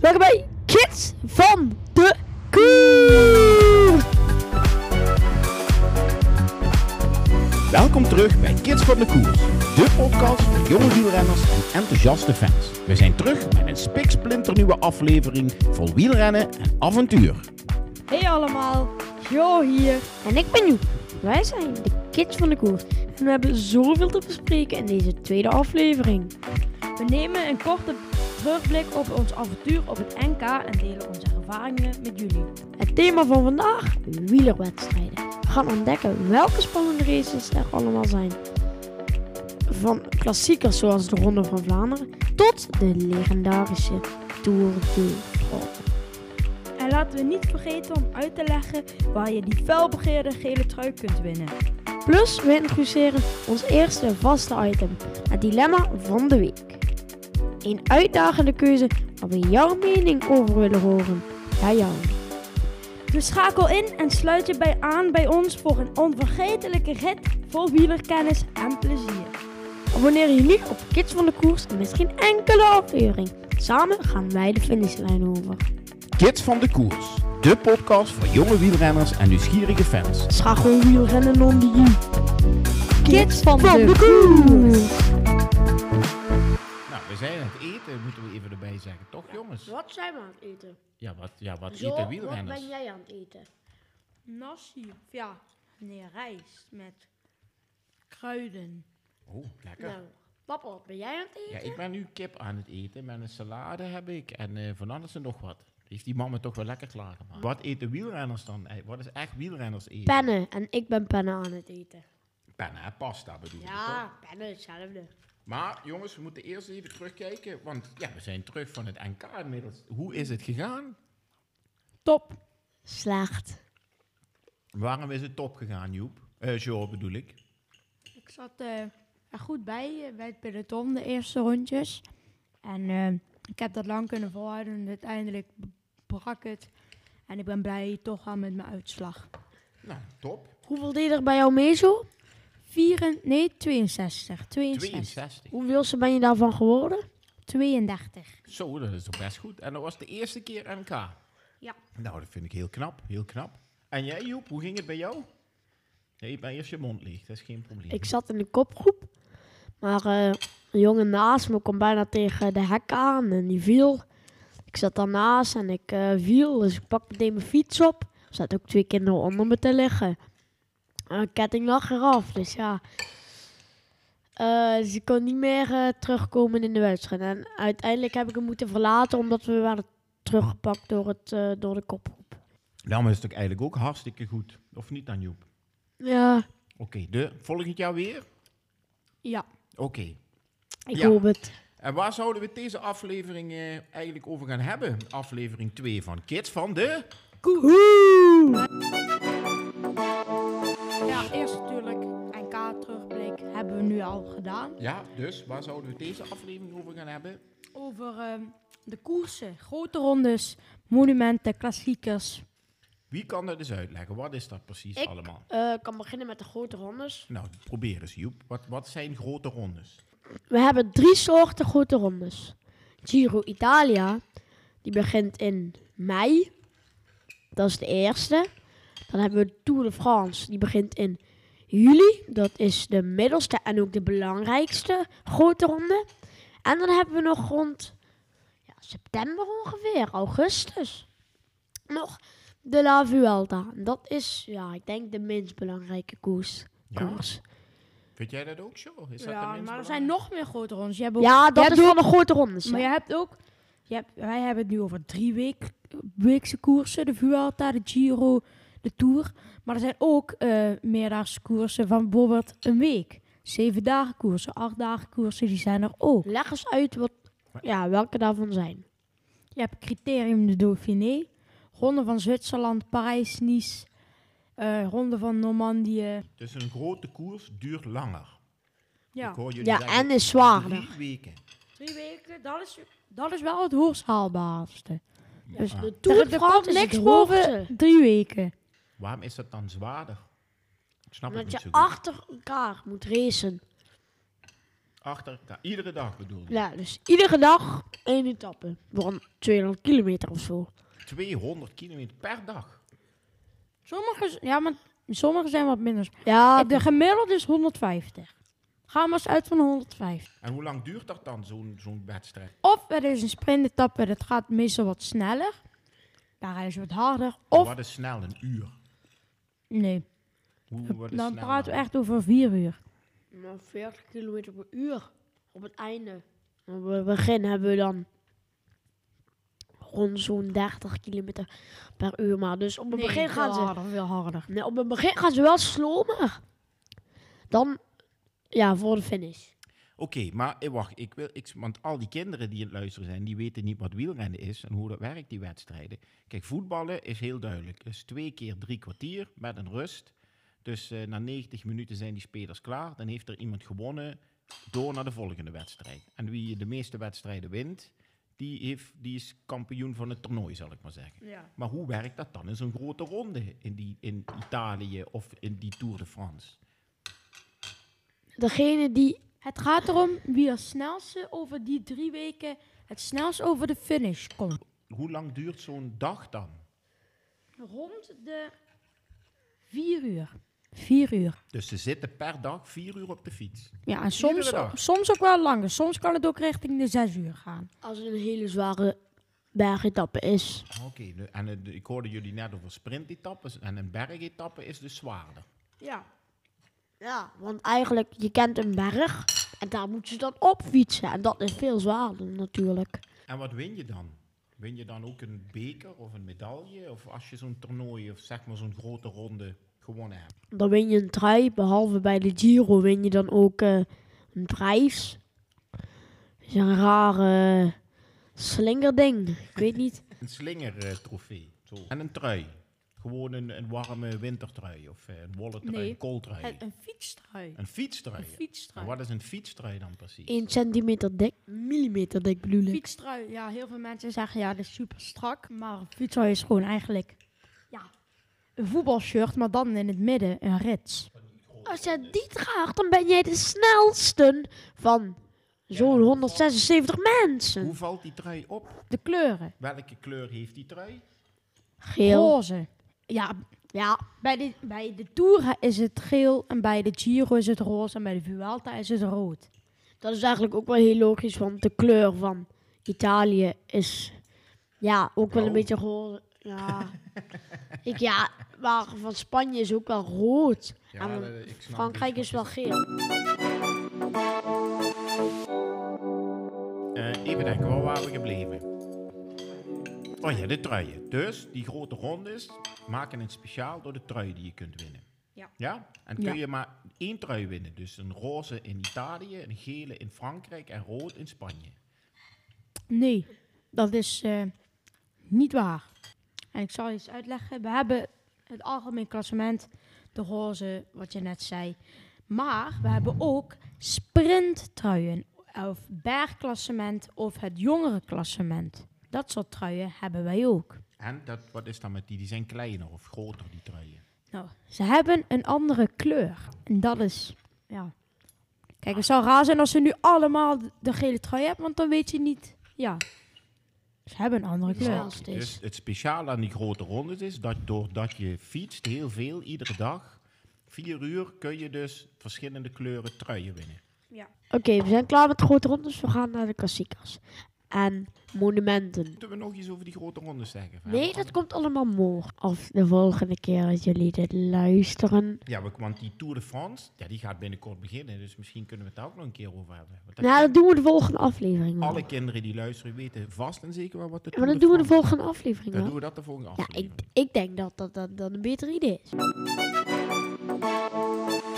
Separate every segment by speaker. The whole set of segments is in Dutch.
Speaker 1: Welkom bij Kids van de Koer.
Speaker 2: Welkom terug bij Kids van de Koers, de podcast voor jonge wielrenners en enthousiaste fans. We zijn terug met een spiksplinternieuwe aflevering vol wielrennen en avontuur.
Speaker 1: Hey allemaal, Jo hier. En ik ben Joep. Wij zijn de Kids van de Koer. En we hebben zoveel te bespreken in deze tweede aflevering.
Speaker 3: We nemen een korte terugblik op ons avontuur op het NK en delen onze ervaringen met jullie.
Speaker 1: Het thema van vandaag, wielerwedstrijden. We gaan ontdekken welke spannende races er allemaal zijn. Van klassiekers zoals de Ronde van Vlaanderen tot de legendarische Tour de France.
Speaker 3: En laten we niet vergeten om uit te leggen waar je die felbegeerde gele trui kunt winnen.
Speaker 1: Plus we introduceren ons eerste vaste item, het dilemma van de week. Een uitdagende keuze waar we jouw mening over willen horen. Ja, jou.
Speaker 3: Dus schakel in en sluit je bij aan bij ons voor een onvergetelijke rit vol wielerkennis en plezier.
Speaker 1: Abonneer je nu op Kids van de Koers en mis geen enkele aflevering. Samen gaan wij de finishlijn over.
Speaker 2: Kids van de Koers, de podcast voor jonge wielrenners en nieuwsgierige fans.
Speaker 1: Schakel wielrennen onder je.
Speaker 3: Kids van de
Speaker 1: Koers.
Speaker 2: Nou, we zijn aan het eten, moeten we even erbij zeggen. Toch jongens?
Speaker 4: Wat zijn we aan het eten?
Speaker 2: Ja, wat, ja, wat
Speaker 4: Zo,
Speaker 2: eten
Speaker 4: wat
Speaker 2: wielrenners?
Speaker 4: ben jij aan het eten?
Speaker 3: Nasi, ja, nee, rijst met kruiden.
Speaker 2: Oh, lekker.
Speaker 4: Nou, papa, wat ben jij aan het
Speaker 2: Ja,
Speaker 4: eten?
Speaker 2: ik ben nu kip aan het eten met een salade heb ik en eh, van alles en nog wat. Heeft die mama toch wel lekker klaargemaakt. Wat eten wielrenners dan? Eh, Wat is echt wielrenners eten?
Speaker 1: Pennen en ik ben pennen aan het eten.
Speaker 2: Pennen, hè? pasta bedoel ik. hoor.
Speaker 4: Ja, pennen, hetzelfde.
Speaker 2: Maar jongens, we moeten eerst even terugkijken, want ja, we zijn terug van het NK inmiddels. Hoe is het gegaan?
Speaker 3: Top.
Speaker 1: Slecht.
Speaker 2: Waarom is het top gegaan, Joep? Eh Jo, bedoel ik.
Speaker 3: Ik zat eh, er goed bij eh, bij het peloton, de eerste rondjes. En eh, ik heb dat lang kunnen volhouden en uiteindelijk b- brak het. En ik ben blij toch al met mijn uitslag.
Speaker 2: Nou, top.
Speaker 1: Hoeveel deed er bij jou mee zo?
Speaker 3: 4, nee, 62. 62.
Speaker 2: 62.
Speaker 1: Hoeveelste ben je daarvan geworden?
Speaker 3: 32.
Speaker 2: Zo, dat is toch best goed. En dat was de eerste keer NK.
Speaker 4: Ja.
Speaker 2: Nou, dat vind ik heel knap, heel knap. En jij, Joep, hoe ging het bij jou? Nee, bij eerst je mond leeg, dat is geen probleem.
Speaker 1: Ik zat in de kopgroep. Maar eh, een jongen naast me kwam bijna tegen de hek aan en die viel. Ik zat daarnaast en ik eh, viel, dus ik pak meteen mijn fiets op. Er zaten ook twee kinderen onder me te liggen. En een ketting lag eraf, dus ja. Eh, dus ik kon niet meer eh, terugkomen in de wedstrijd. En uiteindelijk heb ik hem moeten verlaten omdat we werden teruggepakt door, het, eh, door de kopgroep.
Speaker 2: Nou, maar is het ook eigenlijk ook hartstikke goed. Of niet dan, Joep?
Speaker 1: Ja,
Speaker 2: Oké, de volgend jaar weer?
Speaker 3: Ja.
Speaker 2: Oké.
Speaker 1: ik
Speaker 2: Ja.
Speaker 1: hoop het.
Speaker 2: En waar zouden we het deze aflevering eh, eigenlijk over gaan hebben? Aflevering 2 van Kids van de...
Speaker 3: Ja, eerst natuurlijk NK terugblik hebben we nu al gedaan.
Speaker 2: Ja, dus waar zouden we deze aflevering over gaan hebben?
Speaker 3: Over ehm, de koersen, grote rondes, monumenten, klassiekers.
Speaker 2: Wie kan dat eens uitleggen? Wat is dat precies
Speaker 1: Ik.
Speaker 2: allemaal?
Speaker 1: Eh, ik kan beginnen met de grote rondes.
Speaker 2: Nou, probeer eens Joep. Wat, wat zijn grote rondes?
Speaker 1: We hebben drie soorten grote rondes. Giro Italia, die begint in mei. Dat is de eerste. Dan hebben we de Tour de France, die begint in juli. Dat is de middelste en ook de belangrijkste grote ronde. En dan hebben we nog rond ja, september ongeveer, augustus, nog de La Vuelta. Dat is, ja, ik denk de minst belangrijke koers.
Speaker 2: Ja.
Speaker 1: koers.
Speaker 2: Vind jij dat ook zo? Is dat de
Speaker 3: Ja,
Speaker 2: minst
Speaker 3: maar er
Speaker 2: belangrijk?
Speaker 3: zijn nog meer grote rondes. Je hebt
Speaker 1: Ja,
Speaker 3: ook
Speaker 1: dat is van de grote rondes.
Speaker 3: Maar
Speaker 1: ja.
Speaker 3: je hebt ook, je hebt, wij hebben het nu over drie week, weekse koersen. De Vuelta, de Giro, de Tour. Maar er zijn ook eh meerdaagse koersen van bijvoorbeeld een week. Zeven dagen koersen, acht dagen koersen, die zijn er ook.
Speaker 1: Leg eens uit wat,
Speaker 2: Maar-
Speaker 1: ja, welke daarvan zijn.
Speaker 3: Je hebt Criterium de Dauphiné, Ronde van Zwitserland, Parijs, Nice, eh, Ronde van Normandië.
Speaker 2: Dus een grote koers duurt langer. Ik
Speaker 3: Ja,
Speaker 2: hoor jullie
Speaker 1: Ja,
Speaker 2: zeggen,
Speaker 1: en is zwaarder.
Speaker 2: Drie weken.
Speaker 3: drie weken, dat is, dat is wel het hoogst haalbaarste. Dus
Speaker 2: Ah,
Speaker 1: De
Speaker 3: Er,
Speaker 1: Tour de
Speaker 3: er komt
Speaker 1: France is
Speaker 3: niks
Speaker 1: het
Speaker 3: boven
Speaker 1: hoogste.
Speaker 3: drie weken.
Speaker 2: waarom is dat dan zwaarder? Ik snap het
Speaker 1: Omdat
Speaker 2: niet
Speaker 1: je
Speaker 2: zo goed.
Speaker 1: achter elkaar moet racen.
Speaker 2: Achter elkaar. Iedere dag bedoel je?
Speaker 1: Ja, dus iedere dag één etappe. Van 200 kilometer of zo.
Speaker 2: 200 kilometer per dag.
Speaker 3: Sommige, z- ja, maar sommige zijn wat minder.
Speaker 1: Ja,
Speaker 3: De gemiddelde is 150. Ga maar eens uit van 150.
Speaker 2: En hoe lang duurt dat dan, zo'n zo'n wedstrijd?
Speaker 3: Of er is een sprintetappe, dat gaat meestal wat sneller. Daar rijden ze wat harder. Of,
Speaker 2: Wat is snel, een uur?
Speaker 3: nee,
Speaker 2: Hoe, wat is
Speaker 3: dan
Speaker 2: snel
Speaker 3: praten we echt over vier uur.
Speaker 1: Nou, 40 kilometer per uur op het einde. Op het begin hebben we dan rond zo'n 30 kilometer per uur. Maar dus op het begin gaan ze.
Speaker 3: harder, veel harder.
Speaker 1: Nee, op het begin gaan ze wel slomer. Dan ja, voor de finish.
Speaker 2: Oké, maar eh, wacht, ik wil, ik, want al die kinderen die aan het luisteren zijn, die weten niet wat wielrennen is en hoe dat werkt, die wedstrijden. Kijk, voetballen is heel duidelijk. Dus twee keer drie kwartier met een rust. Dus eh, na 90 minuten zijn die spelers klaar. Dan heeft er iemand gewonnen door naar de volgende wedstrijd. En wie de meeste wedstrijden wint, die, heeft, die is kampioen van het toernooi, zal ik maar zeggen.
Speaker 4: Ja.
Speaker 2: Maar hoe werkt dat dan in zo'n grote ronde in, die, in Italië of in die Tour de France?
Speaker 1: Degene die.
Speaker 3: Het gaat erom wie als snelste over die drie weken het snelst over de finish komt.
Speaker 2: Hoe lang duurt zo'n dag dan?
Speaker 3: Rond de vier uur. Vier uur.
Speaker 2: Dus ze zitten per dag vier uur op de fiets.
Speaker 3: Ja, en soms,
Speaker 2: dag.
Speaker 3: soms ook wel langer. Soms kan het ook richting de zes uur gaan.
Speaker 1: Als het een hele zware bergetappe is.
Speaker 2: Oké, de- en eh, de- ik hoorde jullie net over sprintetappes en een bergetappe is dus zwaarder.
Speaker 4: Ja.
Speaker 1: Ja, want eigenlijk, je kent een berg. En daar moeten ze dan op fietsen. En dat is veel zwaarder natuurlijk.
Speaker 2: En wat win je dan? Win je dan ook een beker of een medaille? Of als je zo'n toernooi of zeg maar zo'n grote ronde gewonnen hebt?
Speaker 1: Dan win je een trui. Behalve bij de Giro win je dan ook eh, een prijs. Dat is een rare slingerding. Ik weet niet.
Speaker 2: Een slingertrofee. Zo. En een trui. Gewoon een, een warme wintertrui of eh, een wollen trui,
Speaker 3: Nee.
Speaker 2: een kooltrui.
Speaker 3: een fietstrui.
Speaker 2: Een fietstrui. En
Speaker 3: fietstrui.
Speaker 2: wat is een fietstrui dan precies?
Speaker 1: 1 centimeter dik. Millimeter dik bedoel ik.
Speaker 3: Fietstrui, ja, heel veel mensen zeggen ja, dat is super strak. Maar een fietstrui is gewoon eigenlijk ja, een voetbalshirt, maar dan in het midden een rits.
Speaker 1: Als jij die draagt, dan ben jij de snelste van zo'n 176 mensen.
Speaker 2: Hoe valt die trui op?
Speaker 3: De kleuren.
Speaker 2: Welke kleur heeft die trui?
Speaker 1: Geel.
Speaker 3: Roze. Ja,
Speaker 1: Ja.
Speaker 3: bij de, bij de Tour is het geel en bij de Giro is het roze en bij de Vuelta is het rood.
Speaker 1: Dat is eigenlijk ook wel heel logisch, want de kleur van Italië is ja, ook wel een
Speaker 2: Blauw.
Speaker 1: beetje rood. Ja. ik, ja, maar van Spanje is ook wel rood. en
Speaker 2: dat- ik snap
Speaker 1: Frankrijk
Speaker 2: niet
Speaker 1: is wel geel.
Speaker 2: Eh, even denken, waar waren we gebleven? Oh ja, de truien. Dus die grote rondes maken het speciaal door de trui die je kunt winnen.
Speaker 4: Ja.
Speaker 2: ja? En kun
Speaker 3: Ja.
Speaker 2: je maar één trui winnen. Dus een roze in Italië, een gele in Frankrijk en rood in Spanje.
Speaker 3: Nee, dat is eh, niet waar. En ik zal je eens uitleggen. We hebben het algemeen klassement, de roze, wat je net zei. Maar we hebben ook sprinttruien, of bergklassement of het jongerenklassement. Dat soort truien hebben wij ook.
Speaker 2: En dat, wat is dan met die? Die zijn kleiner of groter, die truien.
Speaker 3: Nou, ze hebben een andere kleur. En dat is, ja... Kijk, het zou raar zijn als ze nu allemaal de gele trui hebben, want dan weet je niet... Ja, ze hebben een andere kleur.
Speaker 1: Ja. Als het is.
Speaker 2: Dus het speciaal aan die grote rondes is dat doordat je fietst heel veel, iedere dag, vier uur, kun je dus verschillende kleuren truien winnen.
Speaker 1: Oké, we zijn klaar met de grote rondes. We gaan naar de klassiekers. En monumenten.
Speaker 2: Moeten we nog iets over die grote rondes zeggen? Of hebben
Speaker 1: Nee,
Speaker 2: we
Speaker 1: dat komt allemaal morgen. Of de volgende keer dat jullie dit luisteren.
Speaker 2: Ja, we- want die Tour de France, ja, die gaat binnenkort beginnen. Dus misschien kunnen we het daar ook nog een keer over hebben. Want dat-
Speaker 1: Nou, dat doen we de volgende aflevering wel.
Speaker 2: alle kinderen die luisteren weten vast en zeker wel wat de
Speaker 1: Maar
Speaker 2: Tour
Speaker 1: dat doen we de
Speaker 2: France-
Speaker 1: volgende aflevering
Speaker 2: Dan
Speaker 1: wel.
Speaker 2: doen we dat de volgende
Speaker 1: Ja, ik,
Speaker 2: aflevering.
Speaker 1: ik denk dat dat, dat dat een beter idee is.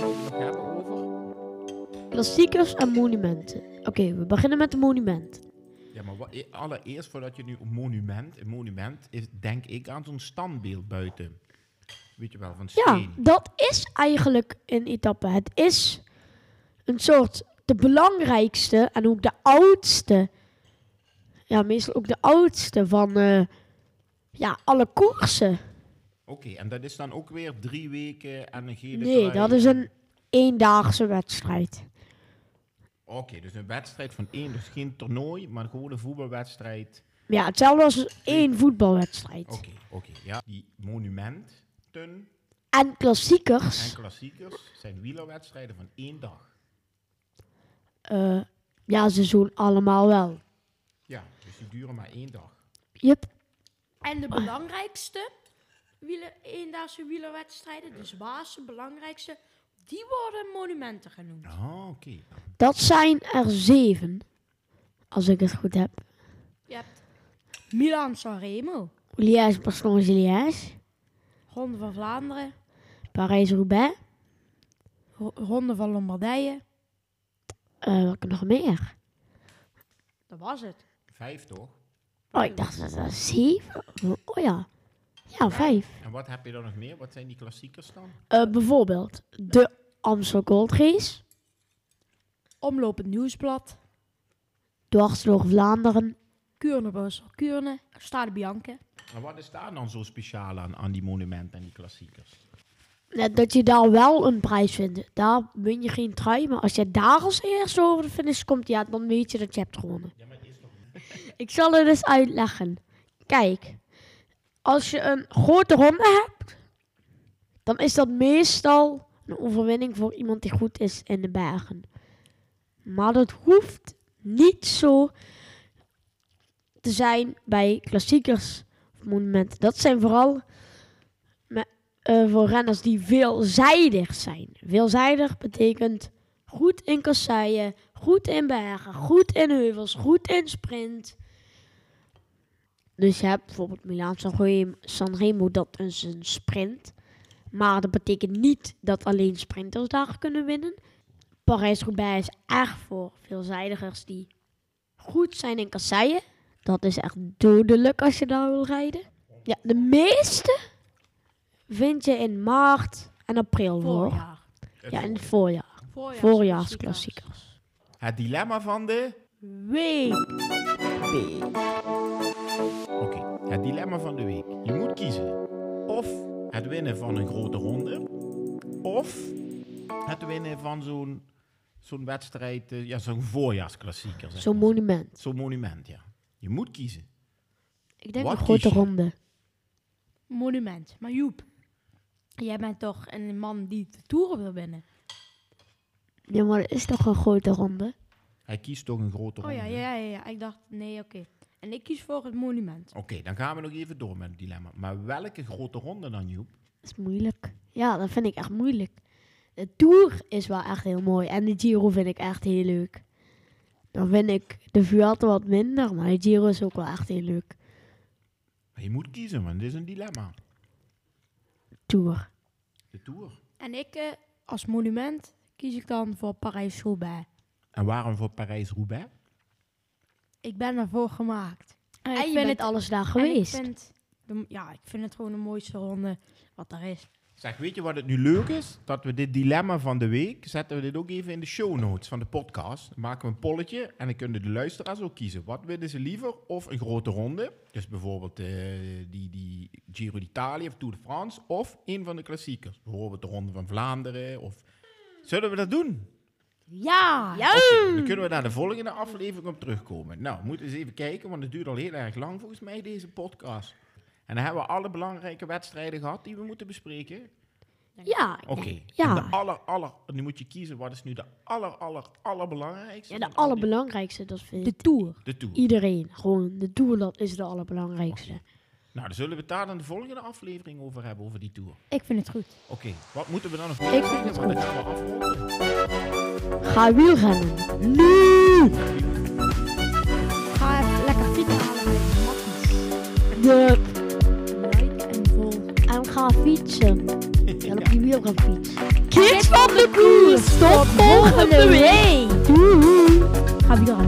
Speaker 2: Nog hebben over?
Speaker 1: Klassiekers en monumenten. Oké, we beginnen met de monumenten.
Speaker 2: Ja, maar wa- e- allereerst voordat je nu een monument... Een monument is, denk ik, aan zo'n standbeeld buiten. Weet je wel, van steen.
Speaker 1: Ja, dat is eigenlijk een etappe. Het is een soort de belangrijkste en ook de oudste. Ja, meestal ook de oudste van eh, ja, alle koersen.
Speaker 2: Oké, en dat is dan ook weer drie weken en een gele
Speaker 1: Nee,
Speaker 2: trui
Speaker 1: dat is
Speaker 2: en-
Speaker 1: een eendaagse wedstrijd.
Speaker 2: Oké, dus een wedstrijd van één, dus geen toernooi, maar gewoon een voetbalwedstrijd.
Speaker 1: Ja, hetzelfde als één voetbalwedstrijd.
Speaker 2: Oké, oké, ja. Die monumenten
Speaker 1: En klassiekers.
Speaker 2: en klassiekers zijn wielerwedstrijden van één dag.
Speaker 1: eh, ja, ze doen allemaal wel.
Speaker 2: Ja, dus die duren maar één dag.
Speaker 1: Jup.
Speaker 4: En de belangrijkste wieler, eendaagse wielerwedstrijden, de zwaarste, belangrijkste, die worden monumenten genoemd.
Speaker 2: Ah, oké.
Speaker 1: Dat zijn er zeven. Als ik het goed heb.
Speaker 4: Je hebt
Speaker 3: Milan Sanremo.
Speaker 1: Liège, Barcelona, Liège.
Speaker 3: Ronde van Vlaanderen.
Speaker 1: Parijs-Roubaix.
Speaker 3: Ro- Ronde van Lombardije.
Speaker 1: Eh wat nog meer?
Speaker 4: dat was het.
Speaker 2: Vijf toch?
Speaker 1: Oh, ik dacht dat dat zeven. Oh ja. Ja, vijf.
Speaker 2: En wat heb je dan nog meer? Wat zijn die klassiekers dan?
Speaker 1: Eh, bijvoorbeeld de Amstel Gold Race.
Speaker 3: Omlopend Nieuwsblad.
Speaker 1: Dwars door Vlaanderen.
Speaker 3: Kuurne Brussel. Kuurne. Stade Bianca.
Speaker 2: En wat is daar dan zo speciaal aan, aan die monumenten en die klassiekers?
Speaker 1: Net dat je daar wel een prijs vindt. Daar win je geen trui. Maar als je daar als eerste over de finish komt, ja, dan weet je dat je hebt gewonnen. ik zal het eens uitleggen. Kijk, als je een grote ronde hebt, dan is dat meestal een overwinning voor iemand die goed is in de bergen. Maar dat hoeft niet zo te zijn bij klassiekers of monumenten. Dat zijn vooral eh, voor renners die veelzijdig zijn. Veelzijdig betekent goed in kasseien, goed in bergen, goed in heuvels, goed in sprint. Dus je hebt bijvoorbeeld Milaan Sanremo, Sanremo dat is een sprint. Maar dat betekent niet dat alleen sprinters daar kunnen winnen. Parijs-Roubaix is echt voor veelzijdigers die goed zijn in kasseien. Dat is echt dodelijk als je daar wil rijden. Ja, de meeste vind je in maart en april hoor.
Speaker 4: Voorjaar.
Speaker 1: Ja, in het voorjaar.
Speaker 4: Voorjaars-
Speaker 1: Voorjaarsklassiekers.
Speaker 2: Het dilemma van de...
Speaker 3: Week.
Speaker 2: Oké, het dilemma van de week. Je moet kiezen. Of het winnen van een grote ronde. Of het winnen van zo'n zo'n wedstrijd, eh, ja, zo'n voorjaarsklassieker. zeg
Speaker 1: Zo'n
Speaker 2: maar.
Speaker 1: monument.
Speaker 2: Zo'n monument, ja. Je moet kiezen.
Speaker 1: Ik denk
Speaker 2: Wat
Speaker 1: een grote
Speaker 2: kies je?
Speaker 1: ronde.
Speaker 3: Monument. Maar Joep. Jij bent toch een man die de toeren wil winnen.
Speaker 1: Ja, maar dat is toch een grote ronde?
Speaker 2: Hij kiest toch een grote
Speaker 3: Oh
Speaker 2: ronde.
Speaker 3: ja, ja, ja, ja. Ik dacht, nee, oké. En ik kies voor het monument.
Speaker 2: Oké, dan gaan we nog even door met het dilemma. Maar welke grote ronde dan, Joep?
Speaker 1: Dat is moeilijk. Ja, dat vind ik echt moeilijk. De Tour is wel echt heel mooi. En de Giro vind ik echt heel leuk. Dan vind ik de Vuelta wat minder, maar de Giro is ook wel echt heel leuk.
Speaker 2: Maar je moet kiezen, want dit is een dilemma.
Speaker 1: Tour.
Speaker 2: De Tour.
Speaker 3: En ik, eh, als monument, kies ik dan voor Parijs-Roubaix.
Speaker 2: En waarom voor Parijs-Roubaix?
Speaker 3: Ik ben daarvoor gemaakt. En,
Speaker 1: En Ah, je bent alles daar
Speaker 3: en ik
Speaker 1: geweest.
Speaker 3: vind de- ja, ik vind het gewoon de mooiste ronde wat er is.
Speaker 2: Zeg, weet je wat het nu leuk is? Dat we dit dilemma van de week, zetten we dit ook even in de show notes van de podcast. Dan maken we een polletje en dan kunnen de luisteraars ook kiezen. Wat willen ze liever? Of een grote ronde, dus bijvoorbeeld eh, die, die Giro d'Italia of Tour de France. Of een van de klassiekers, bijvoorbeeld de Ronde van Vlaanderen. Of... Zullen we dat doen?
Speaker 1: Hmm.
Speaker 3: Ja!
Speaker 2: Oké, dan kunnen we daar de volgende aflevering op terugkomen. Nou, we moeten eens even kijken, want het duurt al heel erg lang volgens mij, deze podcast. En dan hebben we alle belangrijke wedstrijden gehad die we moeten bespreken.
Speaker 1: Ja, ik
Speaker 2: Oké.
Speaker 1: denk-
Speaker 2: En de
Speaker 1: Ja.
Speaker 2: aller, aller, nu moet je kiezen, wat is nu de aller, aller, allerbelangrijkste?
Speaker 1: ja,
Speaker 2: van
Speaker 1: de
Speaker 2: al die-
Speaker 1: allerbelangrijkste, dat vind
Speaker 3: De
Speaker 1: ik.
Speaker 3: Tour.
Speaker 2: De Tour.
Speaker 1: Iedereen. Gewoon, de Tour, dat is de allerbelangrijkste.
Speaker 2: Nou, dan zullen we het daar dan de volgende aflevering over hebben, over die Tour.
Speaker 3: Ik vind het goed.
Speaker 2: Oké, wat moeten we dan nog
Speaker 1: vind
Speaker 2: doen?
Speaker 1: het
Speaker 2: Want dan gaan we afronden.
Speaker 1: Ga wielrennen. Nu!
Speaker 3: Ga even lekker fietsen halen met je matties.
Speaker 1: De
Speaker 3: Like en volg.
Speaker 1: en ga fietsen. En op die wiel gaan fietsen. Kids van de koers, tot volgende week. Doei.
Speaker 3: Ga weer